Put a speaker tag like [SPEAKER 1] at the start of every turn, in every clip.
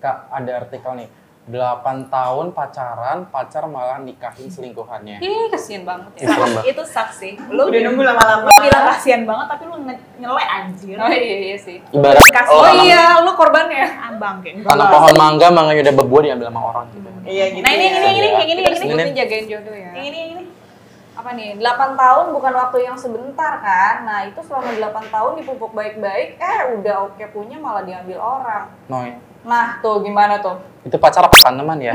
[SPEAKER 1] Kak, ada artikel nih. 8 tahun pacaran, pacar malah nikahin selingkuhannya.
[SPEAKER 2] Ih, kasihan banget ya.
[SPEAKER 1] Itu lama.
[SPEAKER 3] itu saksi lu
[SPEAKER 4] Udah nunggu lama-lama.
[SPEAKER 3] lu bilang kasihan banget tapi lu nge- nyelek anjir
[SPEAKER 2] Oh iya, iya sih.
[SPEAKER 1] Ibarat lo
[SPEAKER 3] Kasih.
[SPEAKER 2] Oh
[SPEAKER 1] tanam,
[SPEAKER 2] iya, lu korbannya.
[SPEAKER 3] abang kayak
[SPEAKER 1] tanam pohon mangga, manganya udah berbuah diambil sama orang gitu.
[SPEAKER 4] Iya gitu.
[SPEAKER 3] Nah, ini,
[SPEAKER 4] ya.
[SPEAKER 3] ini, ini. kayak
[SPEAKER 2] Terus
[SPEAKER 1] kayak gini.
[SPEAKER 2] ini jagain jodoh ya.
[SPEAKER 3] yang ini yang ini
[SPEAKER 2] Apa nih? 8 tahun bukan waktu yang sebentar kan. Nah, itu selama 8 tahun dipupuk baik-baik, eh udah oke punya malah diambil orang.
[SPEAKER 1] Noi,
[SPEAKER 2] Nah, tuh gimana tuh?
[SPEAKER 1] itu pacar apa tanaman ya?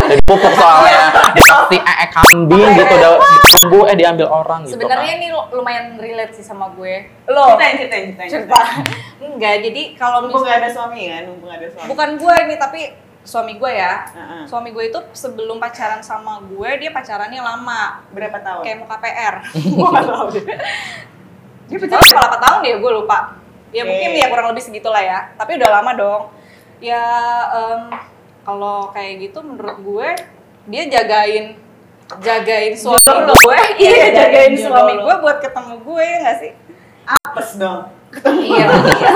[SPEAKER 1] Jadi pupuk soalnya, dikasih ee kambing gitu, udah ditumbuh, eh diambil orang gitu
[SPEAKER 2] Sebenarnya
[SPEAKER 1] kan.
[SPEAKER 2] ini lu- lumayan relate sih sama gue.
[SPEAKER 3] lo
[SPEAKER 4] Ceritain, ceritain, ceritain.
[SPEAKER 2] Cerita. Enggak, jadi kalau
[SPEAKER 4] Mumpung
[SPEAKER 2] mis-
[SPEAKER 4] nggak ada suami kan, mumpung nggak ada suami.
[SPEAKER 2] bukan gue ini tapi suami gue ya.
[SPEAKER 4] Heeh.
[SPEAKER 2] Suami gue itu sebelum pacaran sama gue, dia pacarannya lama.
[SPEAKER 4] Berapa tahun?
[SPEAKER 2] Kayak mau KPR.
[SPEAKER 4] Gua nggak tahu deh.
[SPEAKER 2] Dia pacaran berapa tahun ya? Gue lupa. Ya
[SPEAKER 4] Oke.
[SPEAKER 2] mungkin ya kurang lebih segitulah ya. Tapi udah lama dong. Ya em, kalau kayak gitu menurut gue dia jagain jagain suami
[SPEAKER 3] Jodoh.
[SPEAKER 2] gue. Iya,
[SPEAKER 3] Iya, jagain
[SPEAKER 2] jagain
[SPEAKER 3] jodoh
[SPEAKER 2] suami
[SPEAKER 3] lo.
[SPEAKER 2] gue buat ketemu gue ya nggak sih?
[SPEAKER 4] Apes dong.
[SPEAKER 2] Iya.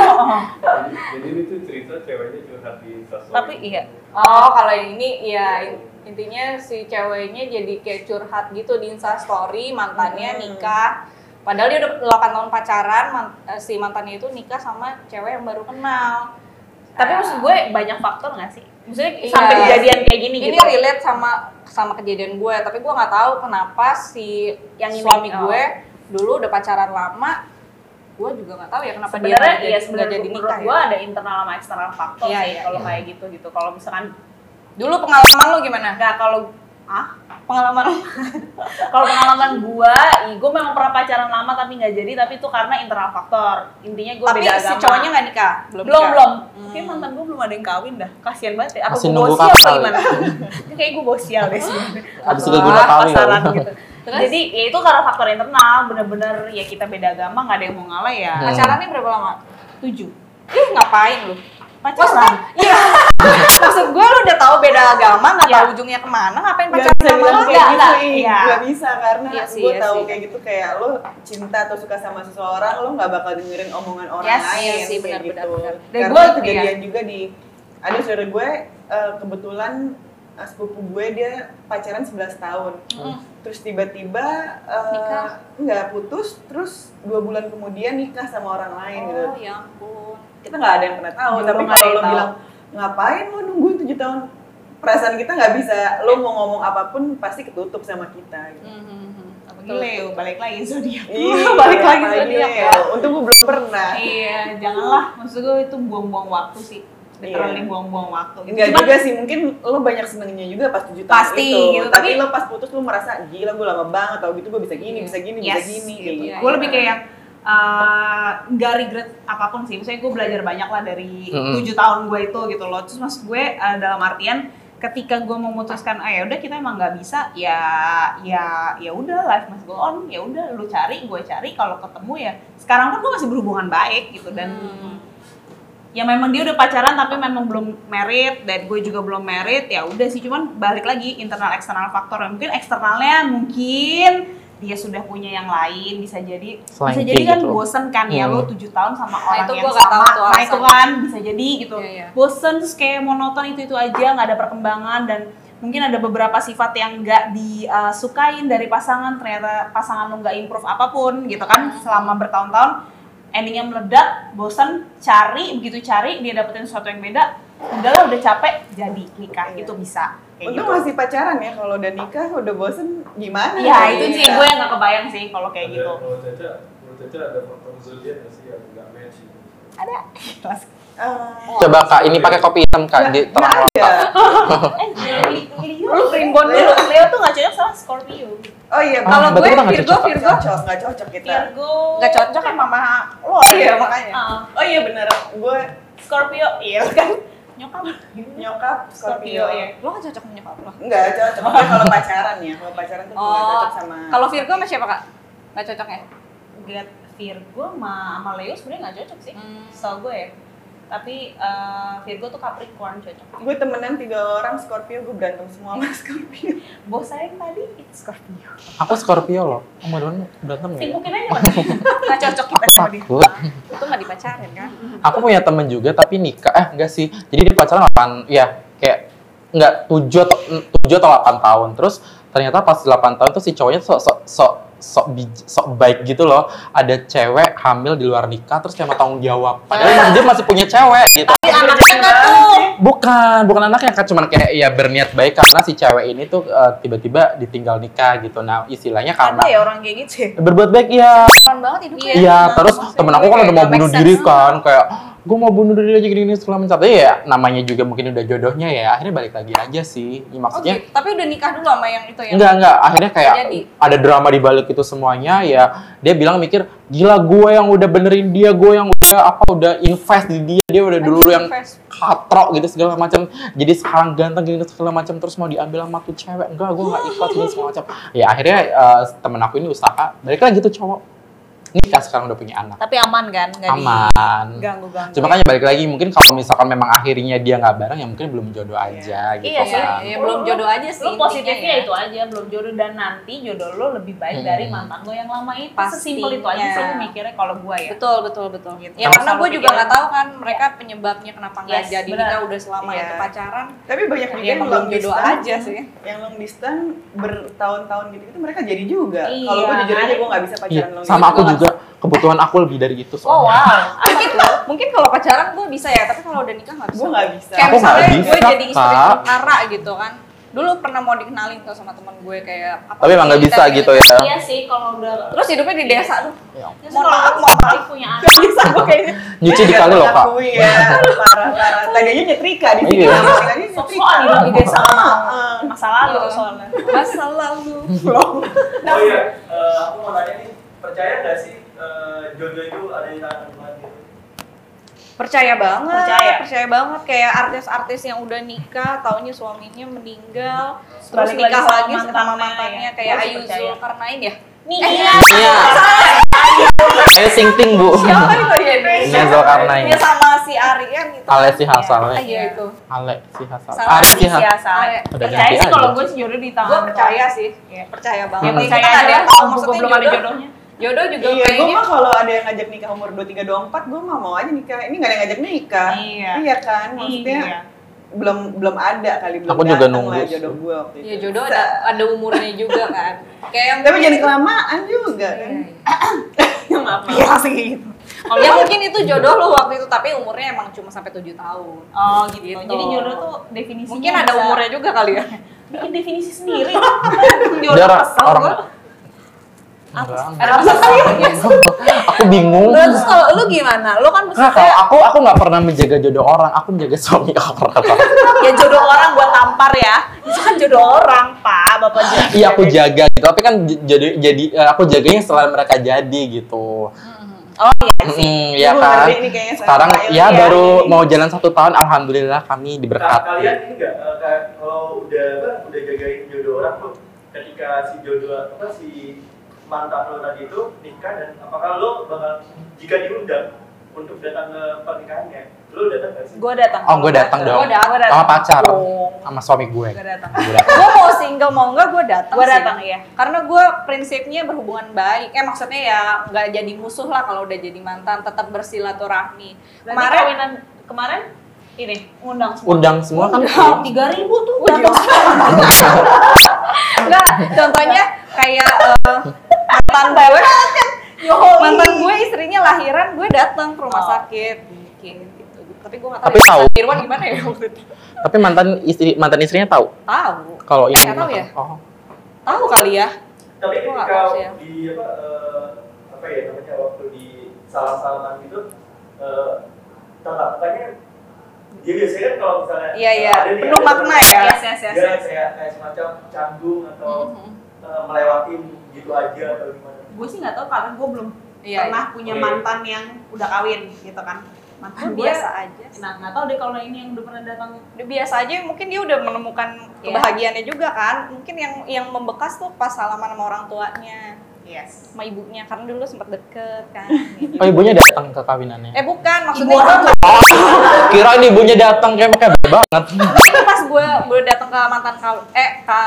[SPEAKER 5] Jadi jadi itu cerita ceweknya curhat di Instastory.
[SPEAKER 3] tapi iya
[SPEAKER 2] Oh, kalau yang ini ya in- intinya si ceweknya jadi kayak curhat gitu di Insta story mantannya
[SPEAKER 4] Hmm.
[SPEAKER 2] nikah. Padahal dia udah 8 tahun pacaran, man- eh, si mantannya itu nikah sama cewek yang baru kenal.
[SPEAKER 3] tapi
[SPEAKER 2] Ah.
[SPEAKER 3] maksud gue banyak faktor nggak sih maksudnya
[SPEAKER 2] Iya.
[SPEAKER 3] sampai kejadian kayak gini
[SPEAKER 2] Ini
[SPEAKER 3] gitu
[SPEAKER 2] relate sama sama kejadian gue, tapi gue nggak tahu kenapa si yang
[SPEAKER 3] Yang ini,
[SPEAKER 2] suami
[SPEAKER 3] oh.
[SPEAKER 2] gue dulu udah pacaran lama, gue juga nggak tahu ya kenapa
[SPEAKER 3] sebenarnya
[SPEAKER 2] dia nggak
[SPEAKER 3] iya
[SPEAKER 2] jadi- nggak
[SPEAKER 3] sebenarnya
[SPEAKER 2] jadi
[SPEAKER 3] menurut
[SPEAKER 2] nikah.
[SPEAKER 3] gue
[SPEAKER 2] ya.
[SPEAKER 3] ada internal sama eksternal faktor
[SPEAKER 2] Iya,
[SPEAKER 3] sih
[SPEAKER 2] iya,
[SPEAKER 3] kalau
[SPEAKER 2] iya.
[SPEAKER 3] kayak gitu gitu kalau misalkan
[SPEAKER 2] Dulu pengalaman lo gimana?
[SPEAKER 3] nggak kalau ah
[SPEAKER 2] Pengalaman lo?
[SPEAKER 3] kalau pengalaman gua, ih, gua memang pernah pacaran lama tapi nggak jadi, tapi itu karena internal faktor. Intinya gua
[SPEAKER 2] tapi
[SPEAKER 3] beda agama.
[SPEAKER 2] si cowoknya nggak nikah, belum
[SPEAKER 3] belum
[SPEAKER 2] nikah?
[SPEAKER 3] belum.
[SPEAKER 2] Hmm.
[SPEAKER 3] Kayaknya mantan gua belum ada yang kawin dah. Kasihan banget ya. Apa
[SPEAKER 1] Masih
[SPEAKER 3] gua
[SPEAKER 1] nunggu
[SPEAKER 3] bosial apa
[SPEAKER 1] kapal.
[SPEAKER 3] gimana? Kayak gua bosial deh sebenarnya.
[SPEAKER 1] Abis
[SPEAKER 2] Abah,
[SPEAKER 1] itu guna kali
[SPEAKER 3] Pasaran
[SPEAKER 1] ya.
[SPEAKER 3] gitu.
[SPEAKER 2] Terus?
[SPEAKER 3] Jadi ya itu karena faktor internal, bener-bener ya kita beda agama, nggak ada yang mau ngalah ya.
[SPEAKER 1] Hmm.
[SPEAKER 2] Pacarannya berapa lama?
[SPEAKER 3] Tujuh.
[SPEAKER 2] Ah. Ih, ngapain lu? Maksudnya,
[SPEAKER 3] Pacaran.
[SPEAKER 2] iya. Maksud gue lu udah tahu beda agama, nggak
[SPEAKER 3] Iya.
[SPEAKER 2] tahu ujungnya kemana, ngapain
[SPEAKER 4] Gak
[SPEAKER 2] pacaran
[SPEAKER 4] bisa
[SPEAKER 2] sama
[SPEAKER 4] bilang
[SPEAKER 2] orang?
[SPEAKER 4] kayak
[SPEAKER 2] Nggak,
[SPEAKER 4] gitu,
[SPEAKER 2] nggak.
[SPEAKER 4] Ih.
[SPEAKER 3] Iya.
[SPEAKER 4] Gak bisa karena
[SPEAKER 2] Iya sih,
[SPEAKER 4] gue
[SPEAKER 2] iya
[SPEAKER 4] tahu
[SPEAKER 2] sih.
[SPEAKER 4] kayak gitu kayak lo cinta atau suka sama seseorang lo nggak bakal dengerin omongan orang
[SPEAKER 2] Yes,
[SPEAKER 4] lain
[SPEAKER 2] iya sih,
[SPEAKER 4] kayak
[SPEAKER 2] benar, benar,
[SPEAKER 4] gitu.
[SPEAKER 2] benar.
[SPEAKER 3] Dan
[SPEAKER 4] Karena
[SPEAKER 3] gua-
[SPEAKER 4] kejadian
[SPEAKER 2] iya.
[SPEAKER 4] juga di ada saudara gue eh, kebetulan eh, sepupu gue dia pacaran 11 tahun. Terus tiba-tiba eh,
[SPEAKER 2] Hmm. Nikah.
[SPEAKER 4] nggak putus, terus dua bulan kemudian nikah sama orang lain gitu
[SPEAKER 2] Oh, ya ampun.
[SPEAKER 4] kita nggak ada yang pernah tahu
[SPEAKER 3] Belum
[SPEAKER 4] tapi
[SPEAKER 3] Iya, ada
[SPEAKER 4] kalau
[SPEAKER 3] yang
[SPEAKER 4] lo
[SPEAKER 3] tahu.
[SPEAKER 4] bilang ngapain lo nungguin tujuh tahun perasaan kita nggak bisa lo mau ngomong apapun pasti ketutup sama kita
[SPEAKER 3] Iya,
[SPEAKER 4] gitu.
[SPEAKER 2] Hmm,
[SPEAKER 3] Leo, balik lagi zodiak.
[SPEAKER 4] Ih,
[SPEAKER 3] balik lagi
[SPEAKER 4] apalagi
[SPEAKER 3] zodiak.
[SPEAKER 4] Leo. Untung gue belum pernah.
[SPEAKER 3] Iya, janganlah. Maksud gue itu buang-buang waktu sih. Literally
[SPEAKER 4] Iya.
[SPEAKER 3] buang-buang waktu.
[SPEAKER 4] Enggak
[SPEAKER 3] Cuman-
[SPEAKER 4] juga sih, mungkin lo banyak senengnya juga pas tujuh tahun
[SPEAKER 3] Pasti,
[SPEAKER 4] itu.
[SPEAKER 3] gitu.
[SPEAKER 4] Tapi,
[SPEAKER 3] Tapi-
[SPEAKER 4] lo pas putus lo merasa gila gue lama banget, tau gitu gue bisa gini, bisa gini, bisa
[SPEAKER 3] Yes,
[SPEAKER 4] gini.
[SPEAKER 3] gitu.
[SPEAKER 4] Gitu.
[SPEAKER 2] Iya,
[SPEAKER 3] Gue
[SPEAKER 2] iya.
[SPEAKER 3] lebih kayak eh, nggak regret apapun sih. Misalnya gue belajar banyak lah dari
[SPEAKER 1] Mm-mm.
[SPEAKER 3] tujuh tahun gue itu gitu loh. Terus maksud gue eh, dalam artian ketika gue memutuskan ah ya udah kita emang nggak bisa ya ya ya udah life must go on ya udah lu cari gue cari kalau ketemu ya sekarang pun gue masih berhubungan baik gitu dan ya memang dia udah pacaran tapi memang belum merit dan gue juga belum merit ya udah sih cuman balik lagi internal eksternal faktor Ya, mungkin eksternalnya mungkin dia sudah punya yang lain bisa jadi bisa
[SPEAKER 1] Selingkuh
[SPEAKER 3] jadi kan
[SPEAKER 1] gitu.
[SPEAKER 3] bosen kan
[SPEAKER 1] Hmm.
[SPEAKER 3] ya lo tujuh tahun sama
[SPEAKER 2] Nah,
[SPEAKER 3] orang
[SPEAKER 2] itu
[SPEAKER 3] yang
[SPEAKER 2] gua nggak
[SPEAKER 3] sama
[SPEAKER 2] tahu tuh
[SPEAKER 3] nah itu
[SPEAKER 2] alasannya.
[SPEAKER 3] kan bisa jadi gitu
[SPEAKER 2] Iya, iya.
[SPEAKER 3] bosen terus kayak monoton itu itu aja nggak ada perkembangan dan mungkin ada beberapa sifat yang nggak disukain dari pasangan ternyata pasangan lo nggak improve apapun gitu kan selama bertahun-tahun endingnya meledak, bosen, cari, begitu cari dia dapetin sesuatu yang beda, udahlah udah capek, jadi nikah
[SPEAKER 4] Iya.
[SPEAKER 3] itu bisa. Kayak
[SPEAKER 4] Untung
[SPEAKER 3] gitu.
[SPEAKER 4] masih pacaran ya, kalau udah nikah udah bosen gimana?
[SPEAKER 3] Iya
[SPEAKER 4] Kayak
[SPEAKER 3] itu sih
[SPEAKER 4] gitu.
[SPEAKER 3] gue yang gak kebayang sih kalau kayak
[SPEAKER 5] Ada-
[SPEAKER 3] gitu.
[SPEAKER 5] Kalau Caca, kalau Caca ada faktor zodiak nggak sih yang nggak match? gitu?
[SPEAKER 3] Ada. Kelas.
[SPEAKER 4] Eh,
[SPEAKER 1] Coba kak, ini pakai kopi hitam kak, di
[SPEAKER 4] nggak
[SPEAKER 1] terang
[SPEAKER 4] ada.
[SPEAKER 3] Eh Leo, Rimbon dulu. Leo tuh gak cocok sama Scorpio.
[SPEAKER 4] Oh iya,
[SPEAKER 1] Ah,
[SPEAKER 2] Kalau
[SPEAKER 1] berarti
[SPEAKER 2] gue
[SPEAKER 1] kita nggak
[SPEAKER 2] Virgo,
[SPEAKER 1] cocok.
[SPEAKER 2] Virgo.
[SPEAKER 4] nggak cocok, nggak cocok kita.
[SPEAKER 3] Virgo.
[SPEAKER 2] Nggak cocok sama mama lo. Iya, makanya.
[SPEAKER 3] Ah,
[SPEAKER 4] Oh iya bener, gue
[SPEAKER 3] Scorpio, iya kan. Nyokap.
[SPEAKER 4] nyokap iya.
[SPEAKER 3] Scorpio, ya.
[SPEAKER 2] Lo nggak cocok sama nyokap lo?
[SPEAKER 4] Enggak cocok, Maksudnya kalau pacaran ya, kalau pacaran tuh nggak
[SPEAKER 2] Oh,
[SPEAKER 4] cocok sama
[SPEAKER 2] kalau Virgo sama siapa, Kak? Nggak cocok ya?
[SPEAKER 3] Get Virgo sama, sama Leo sebenarnya gak cocok sih.
[SPEAKER 2] Hmm.
[SPEAKER 3] Soal gue ya. tapi eh, Virgo tuh Capricorn cocok.
[SPEAKER 4] Gue temenan tiga orang Scorpio, gue berantem semua sama Scorpio.
[SPEAKER 3] Bos saya yang tadi itu Scorpio.
[SPEAKER 1] Aku Scorpio loh. Kamu duluan berantem gak ya?
[SPEAKER 3] Mungkin aja Mas.
[SPEAKER 2] Nggak cocok kita
[SPEAKER 1] Aku
[SPEAKER 2] sama dia.
[SPEAKER 1] takut.
[SPEAKER 2] Itu nggak dipacarin kan?
[SPEAKER 1] Aku punya temen juga tapi nikah. Eh enggak sih. Jadi dia pacaran 8, ya kayak enggak 7 atau 7 atau 8 tahun. Terus ternyata pas 8 tahun tuh si cowoknya sok sok sok sok, bij- sok baik gitu loh. Ada cewek hamil di luar nikah terus kayak mau tanggung jawab.
[SPEAKER 2] Ah.
[SPEAKER 1] Padahal dia masih punya cewek gitu.
[SPEAKER 2] Anaknya nggak tuh.
[SPEAKER 1] Bukan, bukan anaknya kan cuman kayak ya berniat baik karena si cewek ini tuh eh, tiba-tiba ditinggal nikah gitu. Nah, istilahnya
[SPEAKER 2] Ada
[SPEAKER 1] karena
[SPEAKER 2] ya orang kayak gitu ya?
[SPEAKER 1] berbuat baik ya
[SPEAKER 2] Keren banget hidupnya.
[SPEAKER 1] Iya, terus temen aku kan udah mau
[SPEAKER 2] Nggak
[SPEAKER 1] bunuh
[SPEAKER 2] iya, make
[SPEAKER 1] diri
[SPEAKER 2] sense.
[SPEAKER 1] kan, kayak gue mau bunuh diri aja gini-gini segala macam. Tapi ya namanya juga mungkin udah jodohnya ya, akhirnya balik lagi aja sih. Ya,
[SPEAKER 2] Oh
[SPEAKER 1] maksudnya
[SPEAKER 2] gitu. Tapi udah nikah dulu sama yang itu ya?
[SPEAKER 1] enggak enggak, akhirnya kayak
[SPEAKER 2] Jadi.
[SPEAKER 1] ada drama di balik itu semuanya ya. Dia bilang mikir, gila gue yang udah benerin dia, gue yang udah apa udah invest di dia, dia udah dulu yang
[SPEAKER 2] Invest.
[SPEAKER 1] katrok gitu segala macam. Jadi sekarang ganteng gini segala macam terus mau diambil sama tuh cewek. Enggak, gue nggak ikut gini segala macam. Ya akhirnya eh, temen aku ini usaha, balik lagi tuh cowok. Nikah sekarang udah punya anak
[SPEAKER 2] Tapi aman kan? Nggak
[SPEAKER 1] aman.
[SPEAKER 2] diganggu-ganggu.
[SPEAKER 1] Cuma kan ya balik lagi mungkin kalau misalkan memang akhirnya dia nggak bareng ya mungkin belum jodoh aja gitu
[SPEAKER 2] Iya sih,
[SPEAKER 1] kan.
[SPEAKER 2] ya, belum jodoh aja sih.
[SPEAKER 3] Lu
[SPEAKER 2] intinya ya.
[SPEAKER 3] positifnya itu aja, belum jodoh dan nanti jodoh lo lebih baik
[SPEAKER 1] Hmm.
[SPEAKER 3] dari mantan lo yang lama itu. Sesimpel itu aja
[SPEAKER 2] Pastinya.
[SPEAKER 3] sih gue mikirnya kalau gue ya.
[SPEAKER 2] Betul, betul, betul. Ya
[SPEAKER 3] Karena
[SPEAKER 2] karena gue
[SPEAKER 3] selalu
[SPEAKER 2] juga
[SPEAKER 3] pikiran.
[SPEAKER 2] nggak tahu kan mereka penyebabnya kenapa nggak
[SPEAKER 3] Yes,
[SPEAKER 2] jadi
[SPEAKER 3] benar.
[SPEAKER 2] nikah udah selama
[SPEAKER 4] Iya.
[SPEAKER 2] itu pacaran.
[SPEAKER 4] Tapi banyak juga
[SPEAKER 2] Ya
[SPEAKER 4] yang
[SPEAKER 2] emang
[SPEAKER 4] long
[SPEAKER 2] belum jodoh
[SPEAKER 4] distance,
[SPEAKER 2] aja sih.
[SPEAKER 4] yang long distance bertahun-tahun gitu gitu mereka jadi juga.
[SPEAKER 3] Iya.
[SPEAKER 4] Kalau gue jujur aja gue nggak bisa pacaran gitu.
[SPEAKER 1] Iya,
[SPEAKER 4] long
[SPEAKER 1] sama
[SPEAKER 4] distance.
[SPEAKER 1] aku juga kebutuhan aku lebih dari itu soalnya.
[SPEAKER 3] Oh wow,
[SPEAKER 2] Mungkin mungkin kalau pacaran gue bisa ya, tapi kalau udah nikah nggak bisa.
[SPEAKER 4] Gue nggak bisa.
[SPEAKER 2] Kayak
[SPEAKER 1] Aku nggak
[SPEAKER 2] misalnya
[SPEAKER 1] bisa,
[SPEAKER 2] gue jadi istri
[SPEAKER 1] Kak.
[SPEAKER 2] perkara gitu kan. Dulu pernah mau dikenalin tuh sama teman gue kayak apa
[SPEAKER 1] Tapi emang
[SPEAKER 2] sih,
[SPEAKER 1] nggak bisa
[SPEAKER 2] kita
[SPEAKER 1] gitu
[SPEAKER 2] ini-
[SPEAKER 1] ya.
[SPEAKER 3] iya sih kalau udah
[SPEAKER 2] Terus hidupnya di desa tuh.
[SPEAKER 1] Ya.
[SPEAKER 3] Ya, kalau aku mau balik punya anak.
[SPEAKER 4] Gak bisa gitu. gue kayaknya.
[SPEAKER 1] Nyuci dikali loh kak.
[SPEAKER 4] Akui ya, parah-parah. Tadi aja nyetrika di sini.
[SPEAKER 1] Iya.
[SPEAKER 4] Tadi nyetrika. Eh,
[SPEAKER 3] Sok-sokan hidup di desa sama
[SPEAKER 4] Heeh.
[SPEAKER 3] masa lalu
[SPEAKER 2] Iya.
[SPEAKER 3] soalnya.
[SPEAKER 2] Masa lalu.
[SPEAKER 5] Oh iya, eh, aku mau nanya nih, percaya nggak sih eh, jodoh itu ada di tangan Tuhan gitu?
[SPEAKER 2] percaya banget
[SPEAKER 3] Percaya.
[SPEAKER 2] percaya, banget kayak artis-artis yang udah nikah taunya suaminya meninggal terus
[SPEAKER 3] Balik
[SPEAKER 2] nikah lagi
[SPEAKER 3] lagi sama
[SPEAKER 2] sama mantannya,
[SPEAKER 3] mantannya,
[SPEAKER 2] kayak
[SPEAKER 3] terus
[SPEAKER 2] Ayu
[SPEAKER 3] percaya.
[SPEAKER 2] Zulkarnain ya
[SPEAKER 3] Nih,
[SPEAKER 1] Iya. Ayo sing ting bu.
[SPEAKER 2] siapa itu dia
[SPEAKER 1] Iya Zulkarnain.
[SPEAKER 2] dia sama si Arian itu
[SPEAKER 1] Alesi Hasale.
[SPEAKER 2] ah, iya itu
[SPEAKER 1] Ale si Hasale.
[SPEAKER 2] Salah. ya.
[SPEAKER 1] Are si Hasale.
[SPEAKER 2] Are.
[SPEAKER 3] Percaya
[SPEAKER 1] Udah ganti
[SPEAKER 3] sih
[SPEAKER 1] aja.
[SPEAKER 3] kalau gue jodoh di tangan.
[SPEAKER 2] gue percaya sih percaya
[SPEAKER 1] Hmm.
[SPEAKER 2] banget
[SPEAKER 3] Yang
[SPEAKER 2] Kita
[SPEAKER 3] percaya
[SPEAKER 2] nggak ada
[SPEAKER 3] ada
[SPEAKER 2] yang tahu
[SPEAKER 3] gue
[SPEAKER 2] maksudnya
[SPEAKER 3] belum ada
[SPEAKER 2] jodoh
[SPEAKER 3] jodohnya.
[SPEAKER 2] jodoh juga
[SPEAKER 4] Iya, gue
[SPEAKER 3] gitu.
[SPEAKER 2] kayaknya
[SPEAKER 4] mah kalau ada yang ngajak nikah umur 23 24, gue mah mau aja nikah. Ini gak ada yang ngajak nikah.
[SPEAKER 3] Iya.
[SPEAKER 4] kan? Maksudnya
[SPEAKER 3] Iya.
[SPEAKER 4] belum belum ada kali belum
[SPEAKER 1] Aku juga
[SPEAKER 4] datang
[SPEAKER 1] nunggu
[SPEAKER 4] lah
[SPEAKER 1] sih.
[SPEAKER 4] jodoh gue waktu itu.
[SPEAKER 3] Iya,
[SPEAKER 2] ya jodoh ada ada umurnya juga kan kayak yang
[SPEAKER 4] Tapi jadi kelamaan juga kan.
[SPEAKER 3] Iya, Maaf.
[SPEAKER 4] Iya, langsung kayak gitu.
[SPEAKER 2] ya mungkin itu jodoh lo waktu itu tapi umurnya emang cuma sampai tujuh tahun
[SPEAKER 3] Oh gitu. Jadi
[SPEAKER 2] Gitu.
[SPEAKER 3] jodoh tuh definisinya
[SPEAKER 2] mungkin ada
[SPEAKER 3] bisa-
[SPEAKER 2] umurnya juga kali ya
[SPEAKER 3] Bikin definisi sendiri.
[SPEAKER 1] Dia
[SPEAKER 3] jodoh
[SPEAKER 1] orang
[SPEAKER 3] kesel
[SPEAKER 1] orang.
[SPEAKER 3] gue.
[SPEAKER 1] Orang.
[SPEAKER 3] Ada apa sih?
[SPEAKER 1] Aku bingung.
[SPEAKER 2] Iya. Terus kalau lu gimana? Lu kan
[SPEAKER 1] Nah, kalau aku aku nggak pernah menjaga jodoh orang, aku menjaga suami orang.
[SPEAKER 3] Ya jodoh orang gua tampar ya. Itu kan jodoh orang, Pak. Bapak jodoh.
[SPEAKER 1] Iya aku jaga gitu, tapi kan j- jadi jadi eh, aku jaganya setelah mereka jadi gitu.
[SPEAKER 3] Oh iya.
[SPEAKER 1] Hmm, ya
[SPEAKER 4] Gua
[SPEAKER 1] kan.
[SPEAKER 4] ngerti nih kayaknya soal
[SPEAKER 1] Sekarang
[SPEAKER 4] Kak Ilmi
[SPEAKER 1] ya
[SPEAKER 4] ya.
[SPEAKER 1] baru mau jalan satu tahun, alhamdulillah kami
[SPEAKER 5] Ka-
[SPEAKER 1] diberkati.
[SPEAKER 5] Nah, Kalian ini nggak, eh, kayak kalau udah apa, udah jagain jodoh orang tuh, ketika si jodoh apa si mantan lo tadi itu nikah dan apakah lo bakal jika diundang untuk datang ke pernikahannya, lo datang nggak sih?
[SPEAKER 3] Gua Oh. datang.
[SPEAKER 1] Oh, gue datang dong.
[SPEAKER 2] Gua datang, gua
[SPEAKER 1] Sama pacar,
[SPEAKER 3] Dong.
[SPEAKER 1] sama suami gue.
[SPEAKER 3] Gua datang.
[SPEAKER 1] Gue datang.
[SPEAKER 2] gue mau single mau enggak gue datang
[SPEAKER 3] Gua
[SPEAKER 2] sih.
[SPEAKER 3] datang, iya.
[SPEAKER 2] karena gue prinsipnya berhubungan baik eh maksudnya ya nggak jadi musuh lah kalau udah jadi mantan tetap bersilaturahmi
[SPEAKER 3] Kemarin
[SPEAKER 2] kemarin
[SPEAKER 3] kawinan kemarin ini ngundang semua.
[SPEAKER 1] Undang semua kan.
[SPEAKER 3] tiga ribu tuh datang
[SPEAKER 2] enggak contohnya kayak eh, mantan gue mantan gue istrinya lahiran gue datang ke rumah
[SPEAKER 3] Oh.
[SPEAKER 2] sakit Mungkin gitu. tapi gue nggak
[SPEAKER 1] Tapi
[SPEAKER 2] ya,
[SPEAKER 1] tahu.
[SPEAKER 2] Irwan gimana ya waktu itu
[SPEAKER 1] Tapi mantan istri mantan istrinya tahu
[SPEAKER 2] tahu
[SPEAKER 1] kalau yang
[SPEAKER 2] Nggak tahu ya?
[SPEAKER 1] Oh.
[SPEAKER 2] tahu kali ya
[SPEAKER 5] Tapi
[SPEAKER 2] Gua nggak
[SPEAKER 5] ketika
[SPEAKER 2] tahu sih ya.
[SPEAKER 5] di apa eh, apa ya namanya waktu di salam-salaman gitu eh tatap mukanya dia biasanya kan kalau misalnya
[SPEAKER 2] Iya,
[SPEAKER 5] eh,
[SPEAKER 2] iya.
[SPEAKER 5] ada nih,
[SPEAKER 2] Penuh
[SPEAKER 5] ada
[SPEAKER 2] makna
[SPEAKER 5] orang-
[SPEAKER 2] ya?
[SPEAKER 3] Yes, yes, yes,
[SPEAKER 5] dia
[SPEAKER 3] yes.
[SPEAKER 5] kayak kayak semacam canggung atau
[SPEAKER 2] Mhm.
[SPEAKER 5] eh, melewati gitu aja atau gimana
[SPEAKER 3] gue sih nggak tahu karena gue belum
[SPEAKER 2] Iya,
[SPEAKER 3] pernah punya
[SPEAKER 5] Oke.
[SPEAKER 3] mantan yang udah kawin gitu kan
[SPEAKER 2] iya.
[SPEAKER 3] mantan
[SPEAKER 2] biasa
[SPEAKER 3] biasa
[SPEAKER 2] aja sih.
[SPEAKER 3] nah nggak tahu deh kalau ini yang udah pernah datang
[SPEAKER 2] udah biasa aja mungkin dia udah menemukan
[SPEAKER 3] Iya.
[SPEAKER 2] kebahagiaannya juga kan mungkin yang yang membekas tuh pas salaman sama orang tuanya
[SPEAKER 3] Yes.
[SPEAKER 2] sama ibunya karena dulu sempat deket kan gitu.
[SPEAKER 1] Oh ibunya datang ke kawinannya.
[SPEAKER 2] eh bukan maksudnya
[SPEAKER 3] Ibu
[SPEAKER 2] itu
[SPEAKER 1] Kirain ibunya datang kayak kayak banget.
[SPEAKER 2] itu pas gue gue datang ke mantan kau eh ke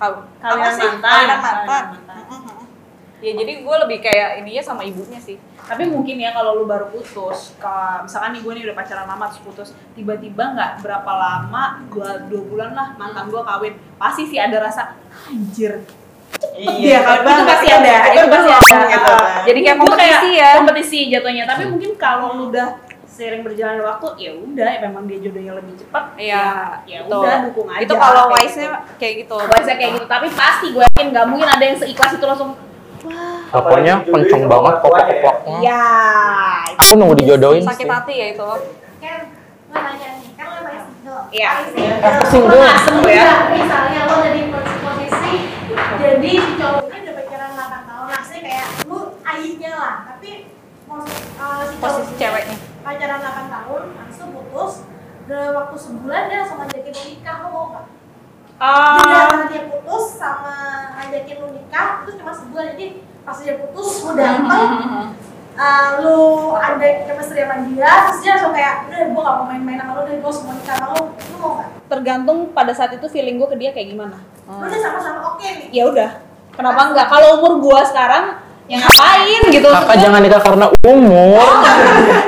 [SPEAKER 2] kau apa
[SPEAKER 3] Kawinan
[SPEAKER 2] sih?
[SPEAKER 3] mantan.
[SPEAKER 2] Kawinan mantan
[SPEAKER 3] Kawinan mantan.
[SPEAKER 2] Mm, mm, mm. ya jadi gue lebih kayak ininya sama ibunya sih
[SPEAKER 3] Tapi mungkin ya kalau lu baru putus, kalau misalkan nih gue nih udah pacaran lama terus putus, tiba-tiba nggak berapa lama, dua, dua bulan lah mantan gue kawin, pasti sih ada rasa anjir.
[SPEAKER 4] Iya,
[SPEAKER 3] kan?
[SPEAKER 4] kan?
[SPEAKER 3] itu pasti ada,
[SPEAKER 4] Itu
[SPEAKER 3] itu pasti ada.
[SPEAKER 4] belum, gitu kan.
[SPEAKER 2] jadi kayak
[SPEAKER 3] Gua
[SPEAKER 2] kompetisi ya
[SPEAKER 3] Kompetisi Hmm. jatuhnya. Tapi mungkin kalau lu udah sering berjalan waktu, ya udah, ya memang dia jodohnya lebih cepat.
[SPEAKER 2] Iya,
[SPEAKER 3] ya, ya
[SPEAKER 2] betul.
[SPEAKER 3] udah dukung aja.
[SPEAKER 2] itu kalau
[SPEAKER 3] kayak
[SPEAKER 2] wise nya kayak gitu
[SPEAKER 3] gitu. wise kayak gitu. Tapi pasti gue yakin nggak mungkin ada yang seikhlas itu langsung.
[SPEAKER 1] Teleponnya kenceng banget popok-popoknya.
[SPEAKER 3] Ya. itu
[SPEAKER 1] Aku nunggu dijodohin
[SPEAKER 2] Iya. sakit
[SPEAKER 1] sih.
[SPEAKER 2] hati ya itu
[SPEAKER 6] Kan, gue nanya nih, kan lo emang single.
[SPEAKER 3] Iya.
[SPEAKER 6] Single.
[SPEAKER 1] Single.
[SPEAKER 6] Nah,
[SPEAKER 3] Single ya.
[SPEAKER 6] Misalnya lo ada di pos- posisi jadi cowoknya udah pacaran 8 tahun, maksudnya kayak lu ayahnya lah, tapi pos- eh, si
[SPEAKER 2] posisi
[SPEAKER 6] cowoknya
[SPEAKER 2] ceweknya
[SPEAKER 6] pacaran 8 tahun, langsung putus, udah waktu sebulan dia langsung ngajakin lu nikah, lo mau nggak?
[SPEAKER 3] Ah,
[SPEAKER 6] Dia dia putus sama ngajakin lu nikah, terus cuma sebulan jadi pas dia putus lu dateng uh, lu ada chemistry sama dia terus dia langsung kayak udah gue gak mau main-main sama lu udah gue semua nikah sama lu lu mau gak?
[SPEAKER 3] tergantung pada saat itu feeling gue ke dia kayak gimana.
[SPEAKER 6] lu udah sama-sama oke nih
[SPEAKER 3] Ya udah. Kenapa enggak? Kalau umur gue sekarang, ya ngapain gitu.
[SPEAKER 1] Kakak jangan nikah karena umur.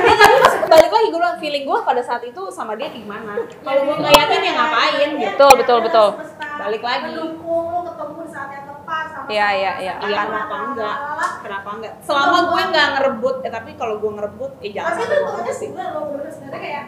[SPEAKER 3] Ya, tapi pas balik lagi gue bilang feeling gue pada saat itu sama dia kayak gimana kalau gue nggak yakin ya ngapain gitu
[SPEAKER 2] Betul, betul, betul.
[SPEAKER 6] Semesta
[SPEAKER 3] Balik lagi.
[SPEAKER 6] mendukung lu ketemu di saat yang tepat sama
[SPEAKER 2] Iya, iya, iya.
[SPEAKER 3] iya kenapa enggak kenapa enggak selama gue nggak ngerebut ya tapi kalau gue ngerebut ya jangan
[SPEAKER 6] tapi itu
[SPEAKER 3] sampai
[SPEAKER 6] bukannya
[SPEAKER 3] ngerebut
[SPEAKER 6] sih gue lo bener sebenarnya kayak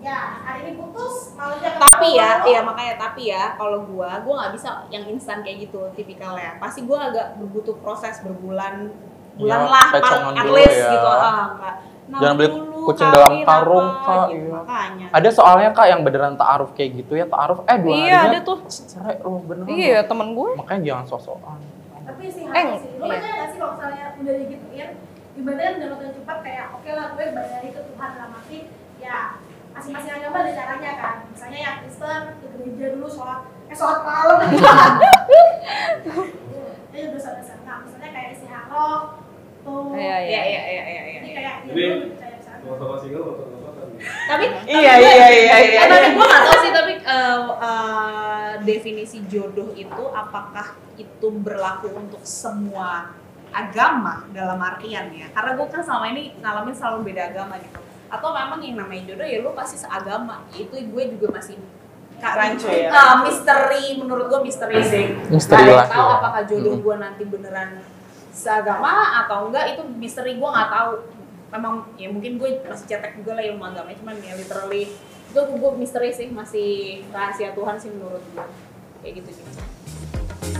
[SPEAKER 6] ya hari ini putus malam
[SPEAKER 3] tapi ya iya makanya tapi ya kalau gue gue nggak bisa yang instan kayak gitu tipikalnya pasti gue agak butuh proses berbulan bulan
[SPEAKER 1] Iya,
[SPEAKER 3] lah
[SPEAKER 1] pecongan
[SPEAKER 3] paling at
[SPEAKER 1] dulu
[SPEAKER 3] least
[SPEAKER 1] ya.
[SPEAKER 3] gitu ah, enggak. Nah,
[SPEAKER 1] Jangan beli
[SPEAKER 3] dulu, Iya,
[SPEAKER 1] kucing
[SPEAKER 3] kawin
[SPEAKER 1] dalam
[SPEAKER 3] apa,
[SPEAKER 1] karung, Kak,
[SPEAKER 3] gitu,
[SPEAKER 1] iya.
[SPEAKER 3] makanya
[SPEAKER 1] Ada soalnya kak yang beneran taaruf kayak gitu ya taaruf eh dua
[SPEAKER 2] iya ada
[SPEAKER 1] harinya
[SPEAKER 2] tuh
[SPEAKER 1] cerai loh beneran.
[SPEAKER 2] iya temen gue
[SPEAKER 1] Makanya jangan sosokan.
[SPEAKER 6] tapi sih
[SPEAKER 2] Eh,
[SPEAKER 6] harus sih lu
[SPEAKER 2] iya.
[SPEAKER 6] percaya nggak sih kalau misalnya udah digituin ibadah udah nonton cepat kayak oke lah gue balik ke Tuhan dalam arti ya masing-masing agama ada caranya kan misalnya yang Kristen ke gereja dulu sholat eh sholat malam itu dosa-dosa nah misalnya kayak istiharoh tuh
[SPEAKER 2] Iya,
[SPEAKER 6] jadi
[SPEAKER 3] iya iya iya iya iya.
[SPEAKER 6] kayak ya
[SPEAKER 5] Jadi,
[SPEAKER 6] dulu percaya
[SPEAKER 5] Mau
[SPEAKER 6] misalnya
[SPEAKER 5] sama single, mau sama apa?
[SPEAKER 3] tapi
[SPEAKER 4] Iya,
[SPEAKER 3] tapi gue-
[SPEAKER 4] iya, iya, iya,
[SPEAKER 3] tapi
[SPEAKER 4] iya.
[SPEAKER 3] gue nggak tahu sih tapi eh, eh, definisi jodoh itu apakah itu berlaku untuk semua agama dalam artian ya karena gue kan selama ini ngalamin selalu beda agama gitu atau memang yang namanya jodoh ya lu pasti seagama itu gue juga masih Kak,
[SPEAKER 4] Rancu ya.
[SPEAKER 3] eh, misteri menurut gue misteri sih
[SPEAKER 1] Misteri
[SPEAKER 3] Nggak ada
[SPEAKER 1] lah,
[SPEAKER 3] yang tahu
[SPEAKER 1] iya.
[SPEAKER 3] apakah jodoh
[SPEAKER 1] Mm-mm.
[SPEAKER 3] gue nanti beneran seagama atau enggak itu misteri gue nggak tahu memang ya mungkin gue masih cetek juga lah ilmu agamanya cuman ya literally itu gue misteri sih masih rahasia Tuhan sih menurut gue kayak gitu sih